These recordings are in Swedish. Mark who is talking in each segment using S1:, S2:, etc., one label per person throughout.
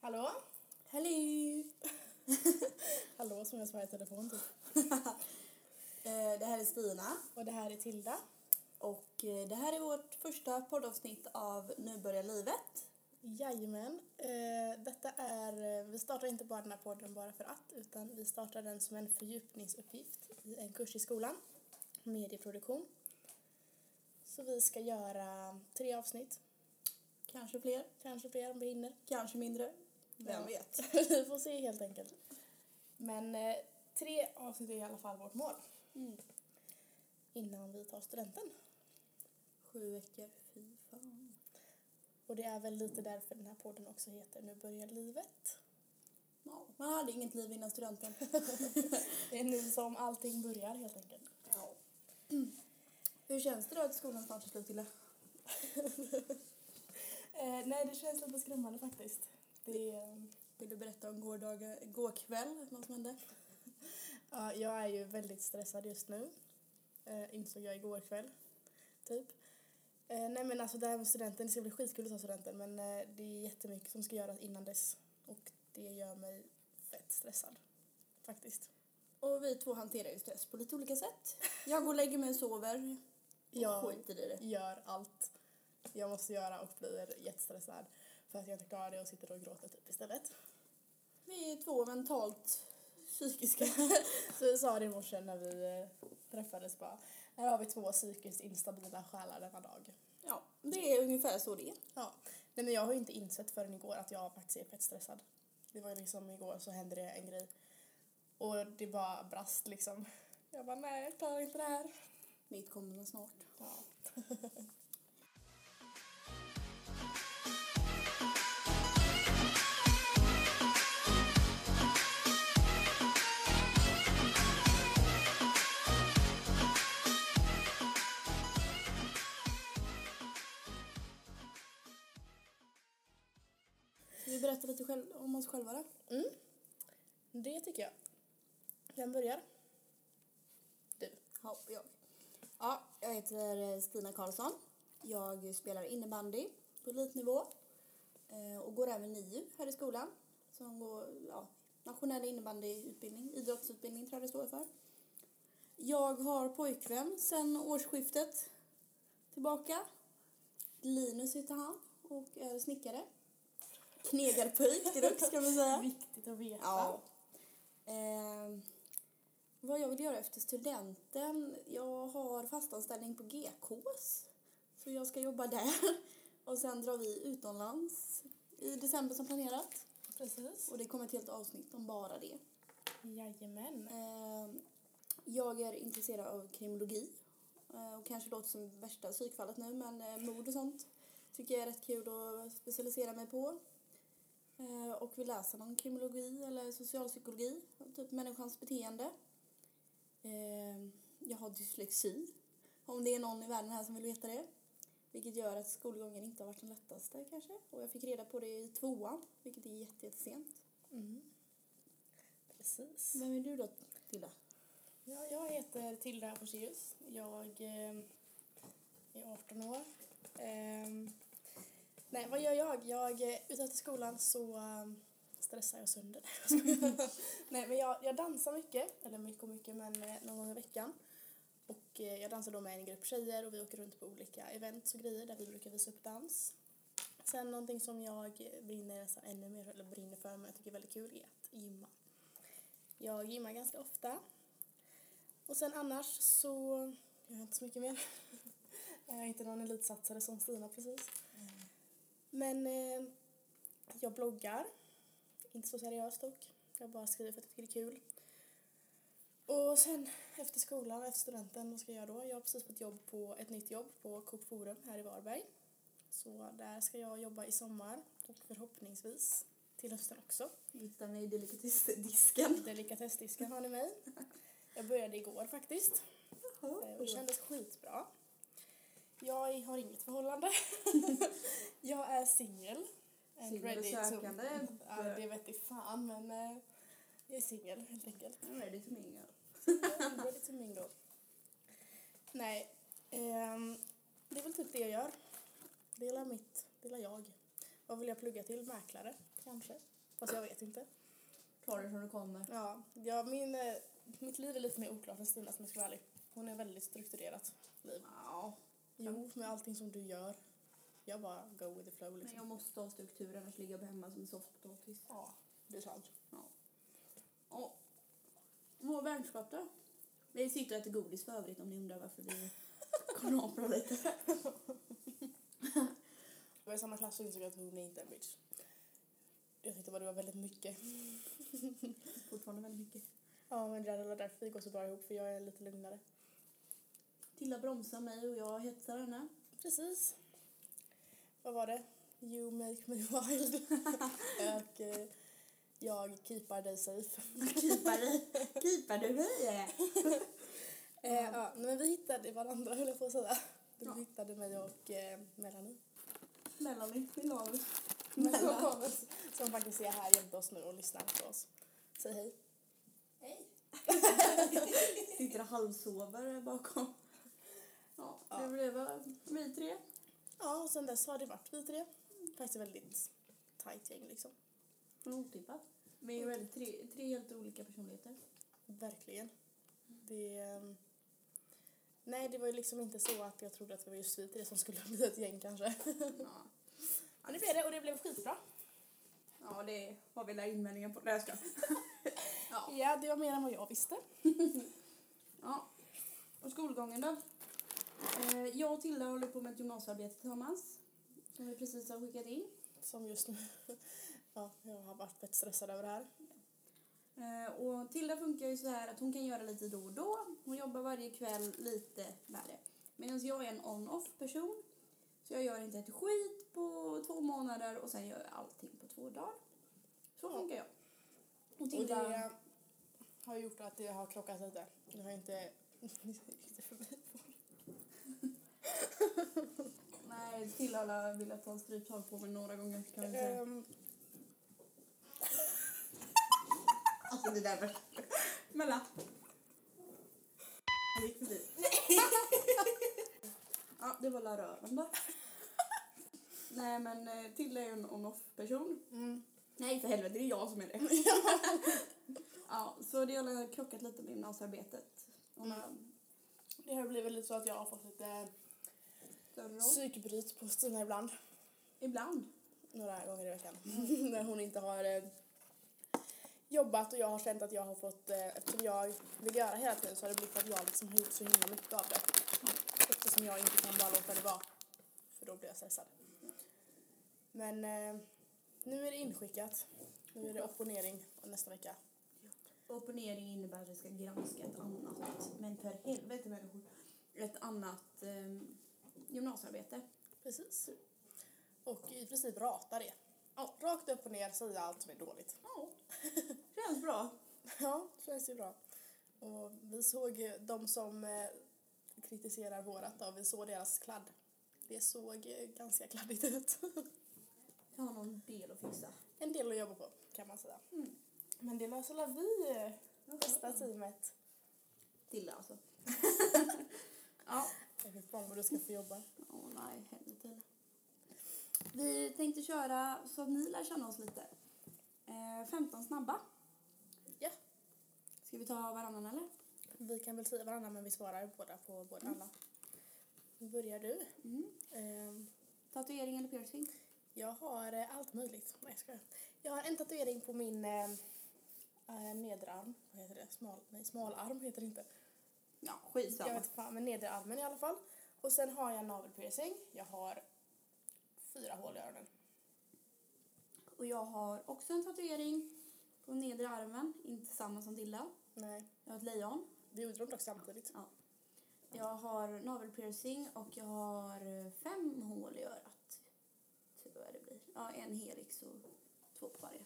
S1: Hallå?
S2: Hello!
S1: Hallå som jag svarar i telefon typ.
S2: Eh, det här är Stina
S1: Och det här är Tilda.
S2: och eh, det här är vårt första poddavsnitt av Nu börjar livet.
S1: Jajamän. Eh, detta är, eh, vi startar inte bara den här podden bara för att utan vi startar den som en fördjupningsuppgift i en kurs i skolan, medieproduktion. Så vi ska göra tre avsnitt,
S2: Kanske fler,
S1: kanske fler om vi hinner.
S2: kanske mindre. Vem
S1: Ja.
S2: vet?
S1: vi får se helt enkelt. Men eh, tre avsnitt är i alla fall vårt mål
S2: Mm.
S1: innan vi tar studenten.
S2: Sju veckor, fy fan.
S1: Och det är väl lite därför den här podden också heter Nu börjar livet.
S2: Ja, man hade inget liv innan studenten.
S1: Det är nu som allting börjar helt enkelt.
S2: Ja. Mm. Hur känns det då att skolan snart är slut, Tilde?
S1: Eh, nej, det känns lite skrämmande faktiskt. Det är, eh,
S2: Vill du berätta om gårdagen, går kväll, vad som hände?
S1: ja, jag är ju väldigt stressad just nu. Eh, insåg jag igår kväll, typ. Eh, nej men alltså det här med studenten, det ska bli skitkul att ta studenten men eh, det är jättemycket som ska göras innan dess och det gör mig fett stressad faktiskt.
S2: Och vi två hanterar ju stress på lite olika sätt. Jag går och lägger mig och sover. Och
S1: Jag
S2: skiter i det.
S1: gör allt jag måste göra och blir jättestressad för att jag inte klarar det och sitter och gråter typ istället.
S2: Vi är två mentalt psykiska.
S1: Så vi sa det i morse när vi eh, träffades bara. Här har vi två psykiskt instabila själar denna dag.
S2: Ja, det är ungefär så det är.
S1: Ja. Nej men jag har ju inte insett förrän igår att jag faktiskt är fett stressad. Det var ju liksom igår så hände det en grej. Och det bara brast liksom. Jag bara nej jag klarar inte det här.
S2: Mitt kommer väl snart.
S1: Ja.
S2: Ska vi berätta lite själv, om oss själva då?
S1: Det tycker jag. Vem börjar? Du.
S2: Ja, jag. Ja, jag heter eh, Stina Karlsson. Jag spelar innebandy på elitnivå eh, och går även NIU här i skolan som går ja, nationell innebandyutbildning, idrottsutbildning tror jag det står för. Jag har pojkvän sedan årsskiftet tillbaka. Linus heter han och är snickare. Knegarpöjk deluxe kan man säga.
S1: Viktigt att veta.
S2: Ja. Ehm, vad jag vill göra efter studenten? Jag har fastanställning på GKs. Så jag ska jobba där. Och sen drar vi utomlands i december som planerat.
S1: Precis.
S2: Och det kommer ett helt avsnitt om bara det.
S1: Jajamän.
S2: Ehm, jag är intresserad av kriminologi. Ehm, och kanske låter som värsta psykfallet nu men eh, mord och sånt tycker jag är rätt kul att specialisera mig på. Ehm, och vill läsa någon kriminologi eller socialpsykologi, typ människans beteende. Ehm, jag har dyslexi, om det är någon i världen här som vill veta det. Vilket gör att skolgången inte har varit den lättaste kanske. Och jag fick reda på det i tvåan, vilket är jätte, jättesent.
S1: Mm. Precis.
S2: Vem är du då, Tilda?
S1: Ja, jag heter Tilda Forselius. Jag eh, är 18 år. Ehm, nej, vad gör jag? Jag, eh, ute efter skolan så eh, stressar jag sönder. nej, men jag, jag dansar mycket, eller mycket och mycket, men eh, någon gång i veckan. Och eh, jag dansar då med en grupp tjejer och vi åker runt på olika events och grejer där vi brukar visa upp dans. Sen någonting som jag brinner nästan ännu mer, eller brinner för, men jag tycker är väldigt kul är att gymma. Jag gymmar ganska ofta. Och sen annars så jag har inte så mycket mer. Jag är inte någon elitsatsare som Stina precis. Men eh, jag bloggar. Inte så seriöst dock. Jag bara skriver för att jag tycker det är kul. Och sen efter skolan, efter studenten, vad ska jag göra då? Jag har precis fått jobb på ett nytt jobb på Coop Forum här i Varberg. Så där ska jag jobba i sommar och förhoppningsvis till hösten också.
S2: Hittar ni delikatessdisken?
S1: Delikatessdisken har ni mig. Jag började igår faktiskt. Eh, Och det kändes skitbra. Jag har inget förhållande. jag är singel. And
S2: Singel och
S1: ready to-
S2: sökande.
S1: Ja, det vet jag fan, men eh, jag är singel helt enkelt.
S2: Nu är det som inga.
S1: I'm ready to mingle. Nej, ehm, det är väl typ det jag gör. Det är väl mitt, det är väl jag. Vad vill jag plugga till? Mäklare, kanske? Fast jag vet inte.
S2: Ta det som det kommer.
S1: Ja, ja min, eh, mitt liv är lite mer oklart än Stinas om jag ska vara ärlig. Hon är väldigt strukturerat.
S2: Ja,
S1: Jo, med allting som du gör. Jag bara go with the flow
S2: men
S1: liksom.
S2: jag måste ha struktur annars ligger jag hemma som en soffpotatis.
S1: Ja, det är sant.
S2: Ja. Vår vänskap då? Vi sitter och äter godis för övrigt om ni undrar varför vi konaprar lite.
S1: Jag var i samma klass och insåg att hon är inte en bitch. Jag tyckte bara det var väldigt mycket.
S2: Fortfarande väldigt mycket.
S1: Ja, men det är därför vi går så bra ihop för jag är lite lugnare.
S2: Tilla bromsar mig och jag hetsar henne.
S1: Precis. Vad var det? You make me wild. och eh, jag keepar dig safe.
S2: Keepar du? Keepar du mig?
S1: Eh, ja, men vi hittade varandra höll jag på att säga. Du
S2: Ja.
S1: hittade mig och eh, Melanie.
S2: Melanie, vill av oss.
S1: Som,
S2: Mellan.
S1: kommer, som faktiskt är här jämte oss nu och lyssnar på oss. Säg hej.
S2: Hej. Sitter och halvsover bakom. Ja, det
S1: Ja.
S2: blev väl vi tre.
S1: Ja, och sen dess har det varit vi tre. Faktiskt ett väldigt tajt gäng liksom.
S2: Otippat. Men ju väldigt tre, tre helt olika personligheter.
S1: Verkligen. Det... ehm, Nej, det var ju liksom inte så att jag trodde att det var just vi tre som skulle bli ett gäng kanske.
S2: Ja,
S1: Men det blev det och det blev skitbra.
S2: ja det har vi väl invändningar på. Nej, jag ska. ja.
S1: Ja, det var mer än vad jag visste.
S2: ja. Och skolgången då? Eh, jag och Tilda håller på med ett gymnasiearbete tillsammans. Som vi precis har skickat in.
S1: Som just nu. Ja, jag har varit väldigt stressad över det här.
S2: Eh, och Tilda funkar ju så här att hon kan göra lite då och då. Hon jobbar varje kväll lite med det. Medan jag är en on-off person. Så jag gör inte ett skit på två månader och sen gör jag allting på två dagar. Så
S1: Ja.
S2: funkar jag. Och
S1: Och
S2: Tilda...
S1: det har gjort att det har krockat lite. Det har inte... inte för mig.
S2: Nej, Tilda har velat ta stryptag på mig några gånger kan jag säga.
S1: Ehm,
S2: Alltså det där var... Mella! Jag gick förbi. ja, det var la röven då. Nej men eh, Tilda är ju en on-off person.
S1: Mm.
S2: Nej för helvete, det är jag som är det. ja, så det har krockat lite med gymnasiearbetet. Hon har
S1: Det har blivit lite så att jag har fått lite
S2: större roll.
S1: psykbryt på Stina ibland.
S2: Ibland.
S1: några gånger i veckan. När hon inte har eh, jobbat och jag har känt att jag har fått, eh, eftersom jag vill göra hela tiden så har det blivit att jag liksom har gjort så himla mycket av det. Eftersom jag inte kan bara låta det vara. För då blir jag stressad. Men eh, nu är det inskickat. Nu är det opponering nästa vecka.
S2: Opponering innebär att vi ska granska ett annat, men för helvete människor, ett annat eh, gymnasiearbete.
S1: Precis. Och i princip rata det. Ja, rakt upp och ner säga allt som är dåligt.
S2: Ja, känns bra.
S1: Ja, det känns ju bra. Och vi såg ju de som eh, kritiserar vårat då, vi såg deras kladd. Det såg eh, ganska kladdigt ut.
S2: Jag har någon del att fixa.
S1: en del att jobba på kan man säga.
S2: Mm.
S1: Men det löser väl vi, eh, bästa teamet.
S2: Tilda alltså. ja.
S1: Jag vet fan vad du ska få jobba.
S2: Åh nej, helvete heller. Vi tänkte köra så att ni lär känna oss lite. Eh, 15 snabba.
S1: Ja.
S2: Ska vi ta varannan eller?
S1: Vi kan väl säga varandra men vi svarar båda på båda alla. Nu börjar du.
S2: Mm.
S1: Ehm,
S2: Tatuering eller piercing?
S1: Jag har eh, allt möjligt. Nej, jag skojar. Jag har en tatuering på min eh, eh, nedrarm. Vad heter det? Smal, nej, smalarm heter det inte.
S2: Ja,
S1: Jag
S2: skitsamma.
S1: vet fan, men nedre armen i alla fall. Och sen har jag navelpiercing. Jag har fyra hål i öronen.
S2: Och jag har också en tatuering på nedre armen. Inte samma som Tilda.
S1: Nej,
S2: Jag har ett lejon.
S1: vi gjorde dem dock samtidigt.
S2: Jag har navelpiercing och jag har eh, fem hål i örat. Tror jag det blir. Ja, en helix och två på varje.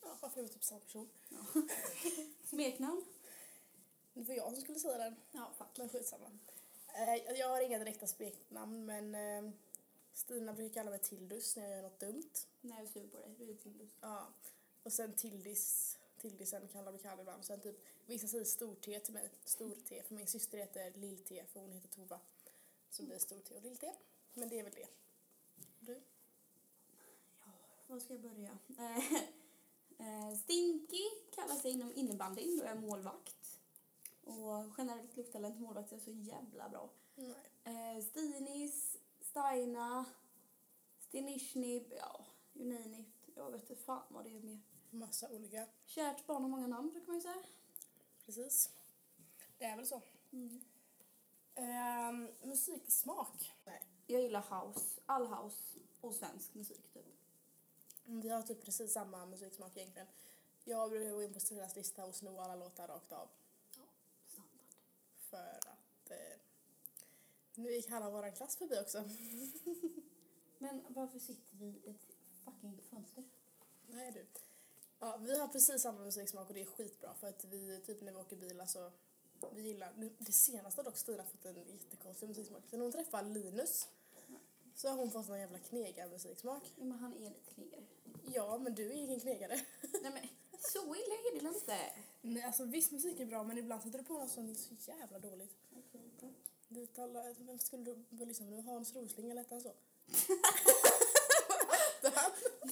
S1: Ja, varför är vi typ samma person?
S2: Smeknamn?
S1: Det var jag som skulle säga den,
S2: Ja, fuck.
S1: men skitsamma. Eh, jag har inga direkta smeknamn, men eh, Stina brukar kalla mig Tildus när jag gör något dumt.
S2: När jag är sur på dig, du är tillus.
S1: Ja. Och sen Tildis. Tildisen kallar vi Kalle ibland. Sen typ, vissa säger stor-T till mig. Stor-T. För min syster heter Lill-T för hon heter Tova. Så blir det stor-T och Lill-T. Men det är väl det. Du?
S2: Ja, var ska jag börja? Eh, Eh, Stinky kallas jag inom innebandyn då jag är målvakt. Och generellt luktar inte målvakter så jävla bra.
S1: Nej.
S2: Eh, Stinis, Steina, Stinishni, ja, you name it. Jag vet inte fan vad det är mer.
S1: Massa olika.
S2: Kärt barn har många namn brukar man ju säga.
S1: Precis. Det är väl så.
S2: Mm.
S1: Ehm, musiksmak. Nej.
S2: Jag gillar house, all house och svensk musik typ.
S1: Vi har typ precis samma musiksmak egentligen. Jag brukar gå in på Stellas lista och sno alla låtar rakt av.
S2: Standard.
S1: För att... Eh, nu gick halva vår klass förbi också.
S2: Men varför sitter vi i ett fucking fönster?
S1: Nej du. Ja, vi har precis samma musiksmak och det är skitbra för att vi, typ när vi åker bil alltså, vi gillar, nu- det senaste har dock Stina fått en jättekonstig musiksmak. Sen hon träffar Linus så har hon fått någon jävla knegar musiksmak.
S2: Ja, men han är lite knegare.
S1: Ja, men du är ingen knegare.
S2: Nej men så illa är det väl inte?
S1: Nej, alltså viss musik är bra men ibland sätter du på något som är så jävla dåligt. Du talar, vem skulle du vilja lyssna på nu? Hans Rosling eller hette han så?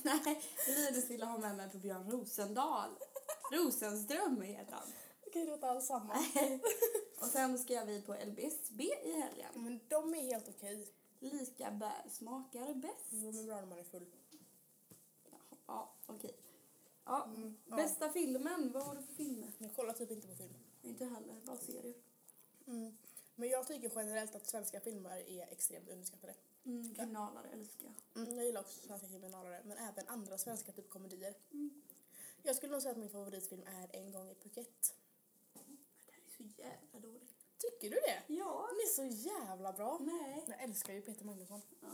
S2: Nej, Linus ville ha med mig på Björn Rosendal. Rosenström heter han.
S1: Okej, det låter alls samma.
S2: Och sen ska vi på LBSB i helgen.
S1: Men de är helt okej.
S2: Lika bär smakar bäst.
S1: De är bra när man är full.
S2: Ja, okej. Ja,
S1: Mm, ja.
S2: bästa filmen. Vad var det för filmer?
S1: Jag kollar typ inte på film.
S2: Inte heller, bara serier.
S1: Mm. Men jag tycker generellt att svenska filmer är extremt underskattade.
S2: Mm, kriminalare älskar jag.
S1: Jag gillar också svenska kriminalare, men även andra svenska typ komedier. Jag skulle nog säga att min favoritfilm är En gång i Phuket.
S2: Det här är så jävla dåligt.
S1: Tycker du det?
S2: Ja.
S1: Den är så jävla bra.
S2: Nej.
S1: Jag älskar ju Peter Magnusson.
S2: Ja.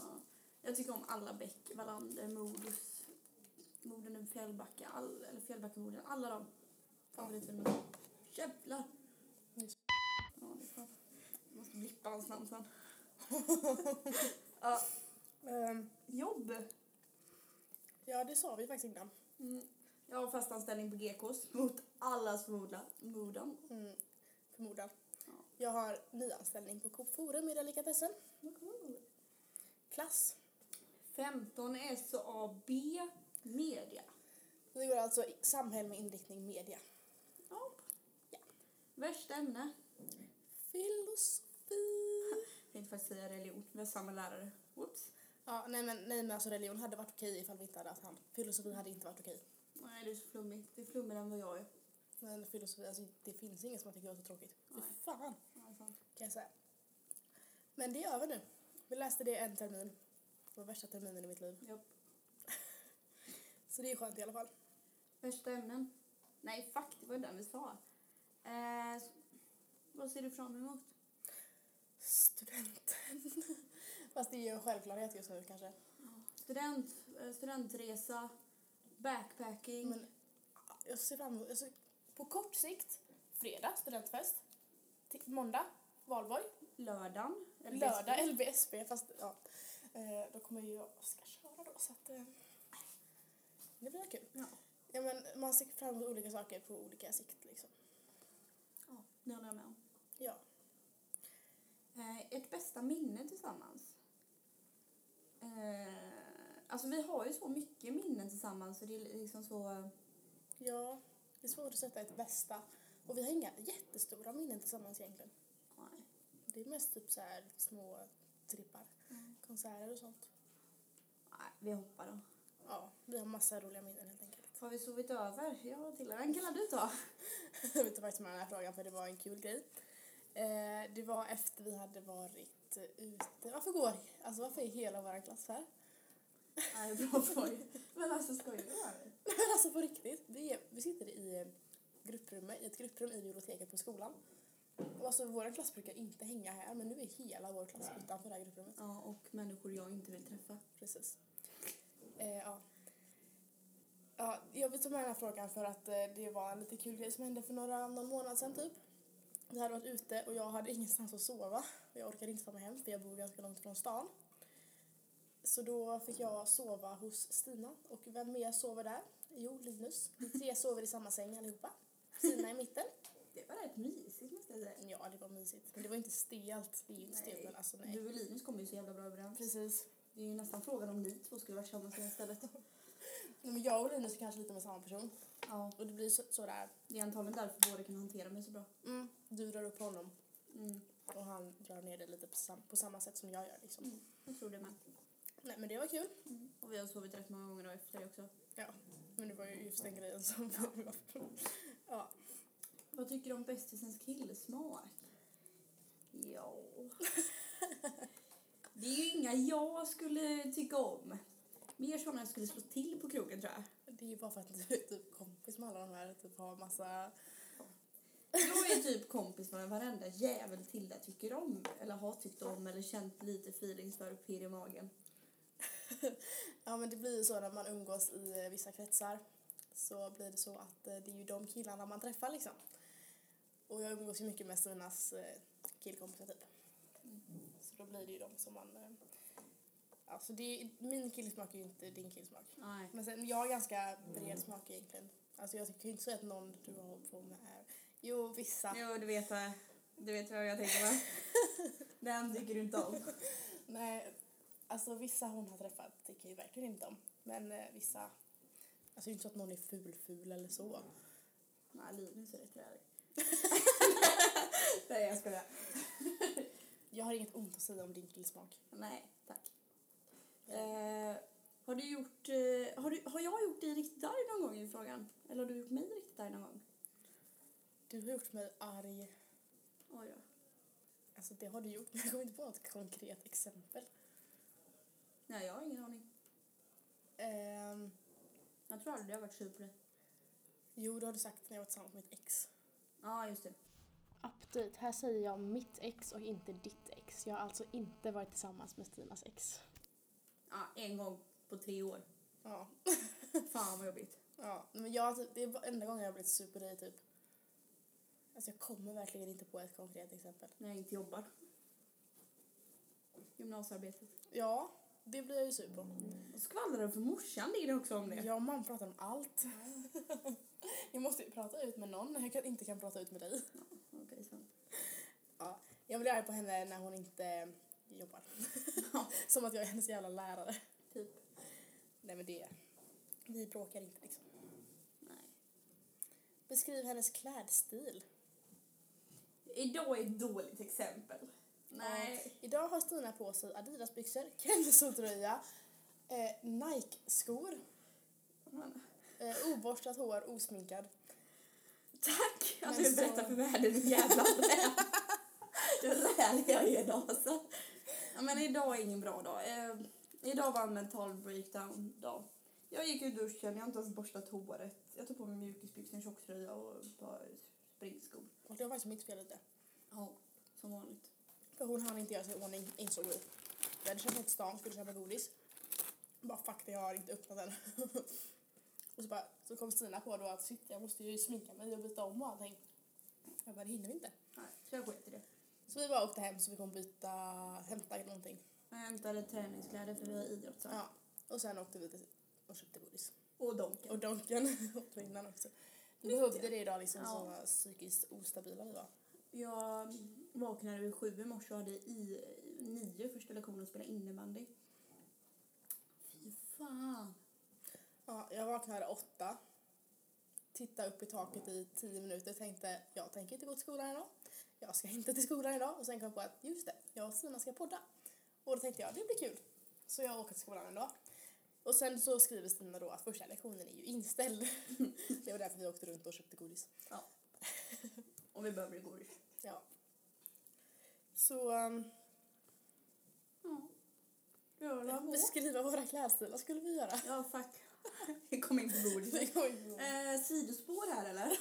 S2: Jag tycker om alla Bäck, Wallander, Modus, Morden i Fjällbacka, all, eller Fjällbackamorden, alla de favoritfilmerna. Jävlar!
S1: Det är så-
S2: Ja, det är fan. Jag måste blippa hans namn sen. ja,
S1: Ehm,
S2: jobb!
S1: ja, det sa vi faktiskt innan.
S2: Mm. Jag har fast anställning på GKs mot allas förmodan. Modan.
S1: Mm, förmodan.
S2: Ja.
S1: Jag har nyanställning på Coop Forum i delikatessen. Klass.
S2: 15 SAB Media.
S1: Vi går alltså i samhälle med inriktning media.
S2: Ja. Värsta ämne.
S1: Filosofi.
S2: Jag tänkte faktiskt säga religion, vi har samma lärare. Whoops.
S1: Ja, nej men, nej men alltså religion hade varit okej ifall vi inte hade haft han. Filosofi hade inte varit okej.
S2: Nej, det är så flummigt. Det är flummigare än vad jag är.
S1: Men filosofi, alltså det finns inget som jag tycker är så tråkigt. Fy
S2: Nej.
S1: fan,
S2: Alltså.
S1: kan jag säga. Men det är över nu. Vi läste det en termin. Det var värsta terminen i mitt liv.
S2: Japp.
S1: Så det är skönt i alla fall.
S2: Värsta ämnen? Nej, fuck, det var ju den vi sa. Eh, s- vad ser du fram emot?
S1: Studenten. Fast det är ju en självklarhet just nu kanske.
S2: Student, eh, studentresa, backpacking.
S1: Men jag ser fram emot, alltså, på kort sikt, fredag studentfest. Till, måndag, valborg.
S2: lördagen. eller
S1: Lördag
S2: resten.
S1: LBSB, fast ja. Eh, då kommer ju jag och Oskar köra då så att eh, det blir kul.
S2: Ja.
S1: Ja, men man ser fram emot olika saker på olika sikt liksom.
S2: Ja, det håller jag med om.
S1: Ja.
S2: Eh, ert bästa minne tillsammans? Eh, alltså vi har ju så mycket minnen tillsammans så det är liksom så... eh,
S1: ja, det är svårt att sätta ett bästa. Och vi har inga jättestora minnen tillsammans egentligen.
S2: Nej.
S1: Det är mest typ så här små trippar,
S2: Mm.
S1: konserter och sånt.
S2: Nej, vi hoppar då.
S1: Ja, vi har massa roliga minnen helt enkelt.
S2: Har vi sovit över? Ja, till den kan du ta.
S1: Jag vet inte faktiskt med den här frågan för det var en kul grej. Eh, det var efter vi hade varit ute. Varför går, alltså varför är hela vår klass här?
S2: Nej, bra skoj. Men alltså skojar du med mig?
S1: Nej, Men alltså på riktigt, vi, är, vi sitter i eh, grupprummet, i ett grupprum i biblioteket på skolan. Och alltså vår klass brukar inte hänga här men nu är hela vår klass utanför det här grupprummet.
S2: Ja, och människor jag inte vill träffa.
S1: Precis. Eh, ja. Ja, jag vill ta med den här frågan för att eh, det var en lite kul grej som hände för några, någon månad sedan typ. Vi hade varit ute och jag hade ingenstans att sova. Och jag orkade inte ta mig hem för jag bor ganska långt från stan. Så då fick jag sova hos Stina. Och vem mer sover där? Jo, Linus. Vi tre sover i samma säng allihopa. Stina i mitten.
S2: Det var rätt mysigt måste jag säga.
S1: Ja, det var mysigt. Men det var inte stelt. Det är ju inte stelt men alltså nej.
S2: Du och Linus kommer ju så jävla bra överens.
S1: Precis.
S2: Det är ju nästan frågan om ni två skulle varit tillsammans i det här stället.
S1: Nej, men jag och Linus är kanske lite med samma person.
S2: Ja.
S1: Och det blir så, sådär.
S2: Det är antagligen därför båda kan hantera mig så bra.
S1: Mm. Du drar upp honom
S2: Mm.
S1: och han drar ner dig lite på, sam- på samma sätt som jag gör. Liksom.
S2: Mm. Jag tror det med.
S1: Nej, men det var kul.
S2: Mm. Och vi har sovit rätt många gånger då efter det också.
S1: Men det var ju just den grejen som vi var på. Ja.
S2: Vad tycker du om bästisens killsmak? Ja... Det är ju inga jag skulle tycka om. Mer sådana jag skulle slå till på krogen tror jag.
S1: Det är ju bara för att du är typ kompis med alla de här. Typ har massa...
S2: Jag är typ kompis med varenda jävel Tilda tycker om eller har tyckt om eller känt lite feelings för och pirr i magen.
S1: Ja men det blir ju så när man umgås i eh, vissa kretsar. Så blir det så att eh, det är ju de killarna man träffar liksom. Och jag umgås ju mycket med Stinas eh, killkompisar typ.
S2: Mm.
S1: Så då blir det ju de som man... eh, Alltså det är, min killsmak är ju inte din killsmak.
S2: Nej.
S1: Men sen, jag har ganska
S2: Mm.
S1: bred smak egentligen. Alltså jag tycker ju inte säga att någon du har hållit på med är... Jo, vissa.
S2: Jo, du vet vad, du vet vad jag tänker va? Den tycker du inte om.
S1: Nej, alltså vissa hon har träffat tycker jag verkligen inte om. Men eh, vissa... Alltså det är inte så att någon är ful-ful eller så.
S2: Nej, Linus är rätt rörig. Nej, jag skojar.
S1: Jag har inget ont att säga om din killsmak.
S2: Nej, tack. Eh, har du gjort, eh, har, du, har jag gjort dig riktigt arg någon gång i frågan? Eller har du gjort mig riktigt arg någon gång?
S1: Du har gjort mig arg.
S2: Oj då.
S1: Alltså det har du gjort, men jag kommer inte på något konkret exempel.
S2: Nej, jag har ingen aning.
S1: Ehm,
S2: Jag tror aldrig jag har varit sur på dig.
S1: jo, det har du sagt när jag var tillsammans med mitt ex.
S2: Ja, just det.
S1: Update. Här säger jag mitt ex och inte ditt ex. Jag har alltså inte varit tillsammans med Stinas ex.
S2: Ja, en gång på tre år.
S1: Ja.
S2: Fan vad jobbigt.
S1: ja. Men jag, har typ, det är enda gången jag har blivit sur på dig typ. Alltså jag kommer verkligen inte på ett konkret exempel.
S2: När jag inte jobbar. Gymnasiearbetet.
S1: Ja, det blir jag ju sur på.
S2: Och skvallrar för morsan ligger också om det.
S1: Jag och mamma pratar om allt. jag måste ju prata ut med någon när jag kan, inte kan prata ut med dig.
S2: Okej, sant.
S1: Jag blir arg på henne när hon inte jobbar. Som att jag är hennes jävla lärare.
S2: Typ.
S1: Nej men det... Vi bråkar inte liksom.
S2: Nej.
S1: Beskriv hennes klädstil.
S2: Idag är ett dåligt exempel. Nej.
S1: Ja. Idag har Stina på sig Adidas-byxor, Kenzo-tröja, eh, Nike-skor,
S2: Men,
S1: eh, oborstat hår, osminkad.
S2: tack Alltså, att
S1: Men
S2: du
S1: så-
S2: berättar för världen din jävla räv. Du räv jag är idag alltså. Ja, men idag är ingen bra dag. Eh, idag var en mental breakdown-dag. Jag gick ur duschen, jag har inte ens borstat håret. Jag tog på mig mjukisbyxor, en tjocktröja och ett par springskor.
S1: Och det var faktiskt mitt fel lite.
S2: Ja, som vanligt.
S1: För hon hann inte göra sig i ordning, insåg vi. Vi hade köpt något till stan, skulle köpa godis. Bara fuck det, jag har inte öppnat den. och så, bara, så kom Stina på då att shit, jag måste ju sminka mig och byta om och allting. Jag bara, det hinner vi inte.
S2: Nej, så jag sket i det.
S1: Så vi bara åkte hem så vi kom byta, hämta någonting.
S2: Jag hämtade träningskläder för vi har idrottsdag.
S1: Ja. Och sen åkte vi till, och köpte godis.
S2: Och Donken.
S1: Och Donken åt vi innan också. Vi
S2: Mycket.
S1: behövde det idag liksom,
S2: Ja.
S1: så psykiskt ostabila vi var.
S2: Jag vaknade vid sju i morse och hade i nio första lektionen att spela innebandy. Fy fan.
S1: Ja, jag vaknade åtta. Tittade upp i taket i tio minuter tänkte jag tänker inte gå till skolan idag. Jag ska inte till skolan idag. Och sen kom jag på att just det, jag och Stina ska podda. Och då tänkte jag det blir kul. Så jag åker till skolan idag. Och sen så skriver Stina då att första lektionen är ju inställd. det var därför vi åkte runt och köpte godis.
S2: Och vi behöver godis.
S1: Ja. Så um,
S2: Ja. Röra på.
S1: beskriva våra klädstilar skulle vi göra.
S2: Ja, fuck. Vi kom in på godis.
S1: Det kommer inte gå.
S2: Eh, sidospår här eller?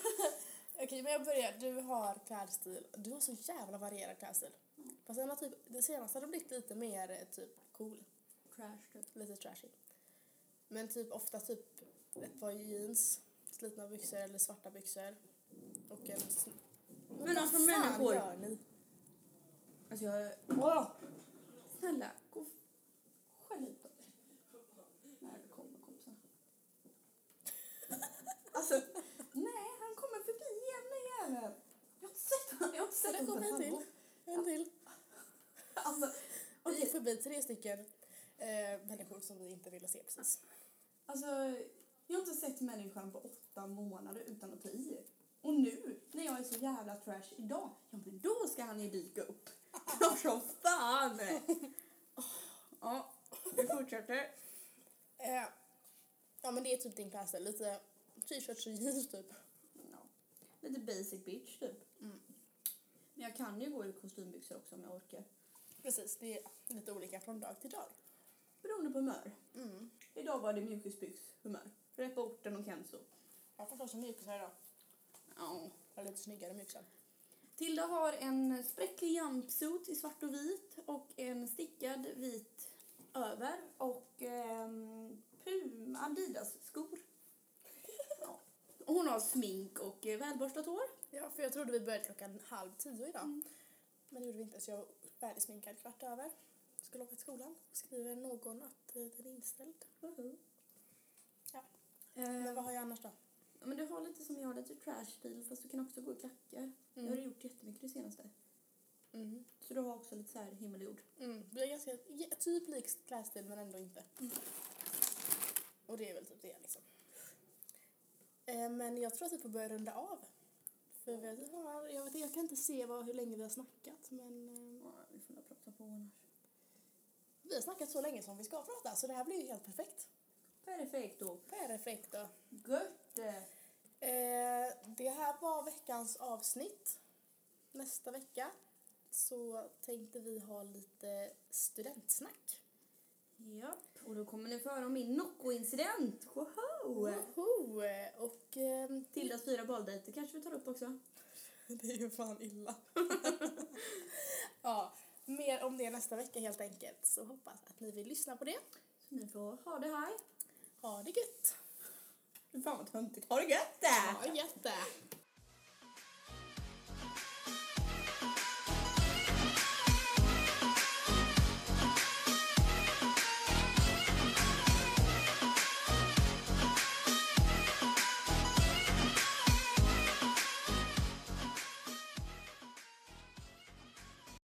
S1: Okej, men jag börjar. Du har klädstil. Du har så jävla varierad klädstil. Fast den har typ, det senaste har blivit lite mer eh, typ cool,
S2: Trash typ.
S1: lite trashy. Men typ ofta typ ett par jeans, slitna byxor eller svarta byxor. Och en... sn-
S2: Men alltså
S1: Fan,
S2: människor.
S1: gör ni?
S2: Alltså jag... Åh! Snälla, gå och skäll ut dem. När du kommer kompisen. Alltså, nej han kommer förbi igen den jäveln. Jag har sett honom. Jag har sett
S1: Där kom en till. En till.
S2: Alltså,
S1: Vi gick
S2: okej.
S1: förbi tre stycken eh, människor som vi inte ville se precis.
S2: alltså, Jag har inte sett människan på åtta månader utan att ta i. Och nu, när jag är så jävla trash idag, ja men då ska han ju dyka upp. Ja, som fan! Åh, Ja, vi fortsätter.
S1: Eh, ja, men det är typ din klass. där. Lite t-shirts och jeans typ.
S2: Ja, lite basic bitch typ.
S1: Mm.
S2: Men jag kan ju gå i kostymbyxor också om jag orkar.
S1: Precis, det är lite olika från dag till dag.
S2: Beroende på humör.
S1: Mm.
S2: Idag var det mjukisbyxhumör. Repa orten och Kenzo.
S1: Jag får ta som mjukisar idag.
S2: Ja.
S1: Jag är lite snyggare mjukisar.
S2: Tilda har en spräcklig jumpsuit i svart och vit och en stickad vit över och ehm, Puma Adidas-skor. Ja. Hon har smink och eh, välborstat hår.
S1: Ja, för jag trodde vi började klockan halv tio idag.
S2: Mm.
S1: Men det gjorde vi inte så jag var färdigsminkad kvart över. Skulle åka till skolan. Skriver någon att eh, den är inställd. Ja.
S2: Eh,
S1: Men vad har jag annars då?
S2: men du har lite som jag, lite trash-stil fast du kan också gå i klackar. Jag har gjort jättemycket det senaste.
S1: Mm.
S2: Så du har också lite så här himmel och jord.
S1: Mm. Vi har ganska ja, typ lik klädstil men ändå inte. Och det är väl typ det liksom. Eh, men jag tror att vi får börja runda av. För vi har, jag, vet, jag kan inte se vad, hur länge vi har snackat men eh,
S2: Ja, vi får nog prata på annars.
S1: vi har snackat så länge som vi ska prata så det här blir ju helt perfekt.
S2: Perfekt då.
S1: Perfekt då.
S2: Gött!
S1: Eh, det här var veckans avsnitt. Nästa vecka så tänkte vi ha lite studentsnack.
S2: Ja, och då kommer ni få höra om min Nocco-incident. Woho!
S1: Woho! Och... ehm,
S2: Tildas fyra bolldejter kanske vi tar upp också.
S1: Det är ju fan illa. ja, mer om det nästa vecka helt enkelt. Så hoppas att ni vill lyssna på det.
S2: Så ni får ha det här.
S1: Ha det gött!
S2: Fan vad töntigt. Har du gött det!
S1: Ha det gött!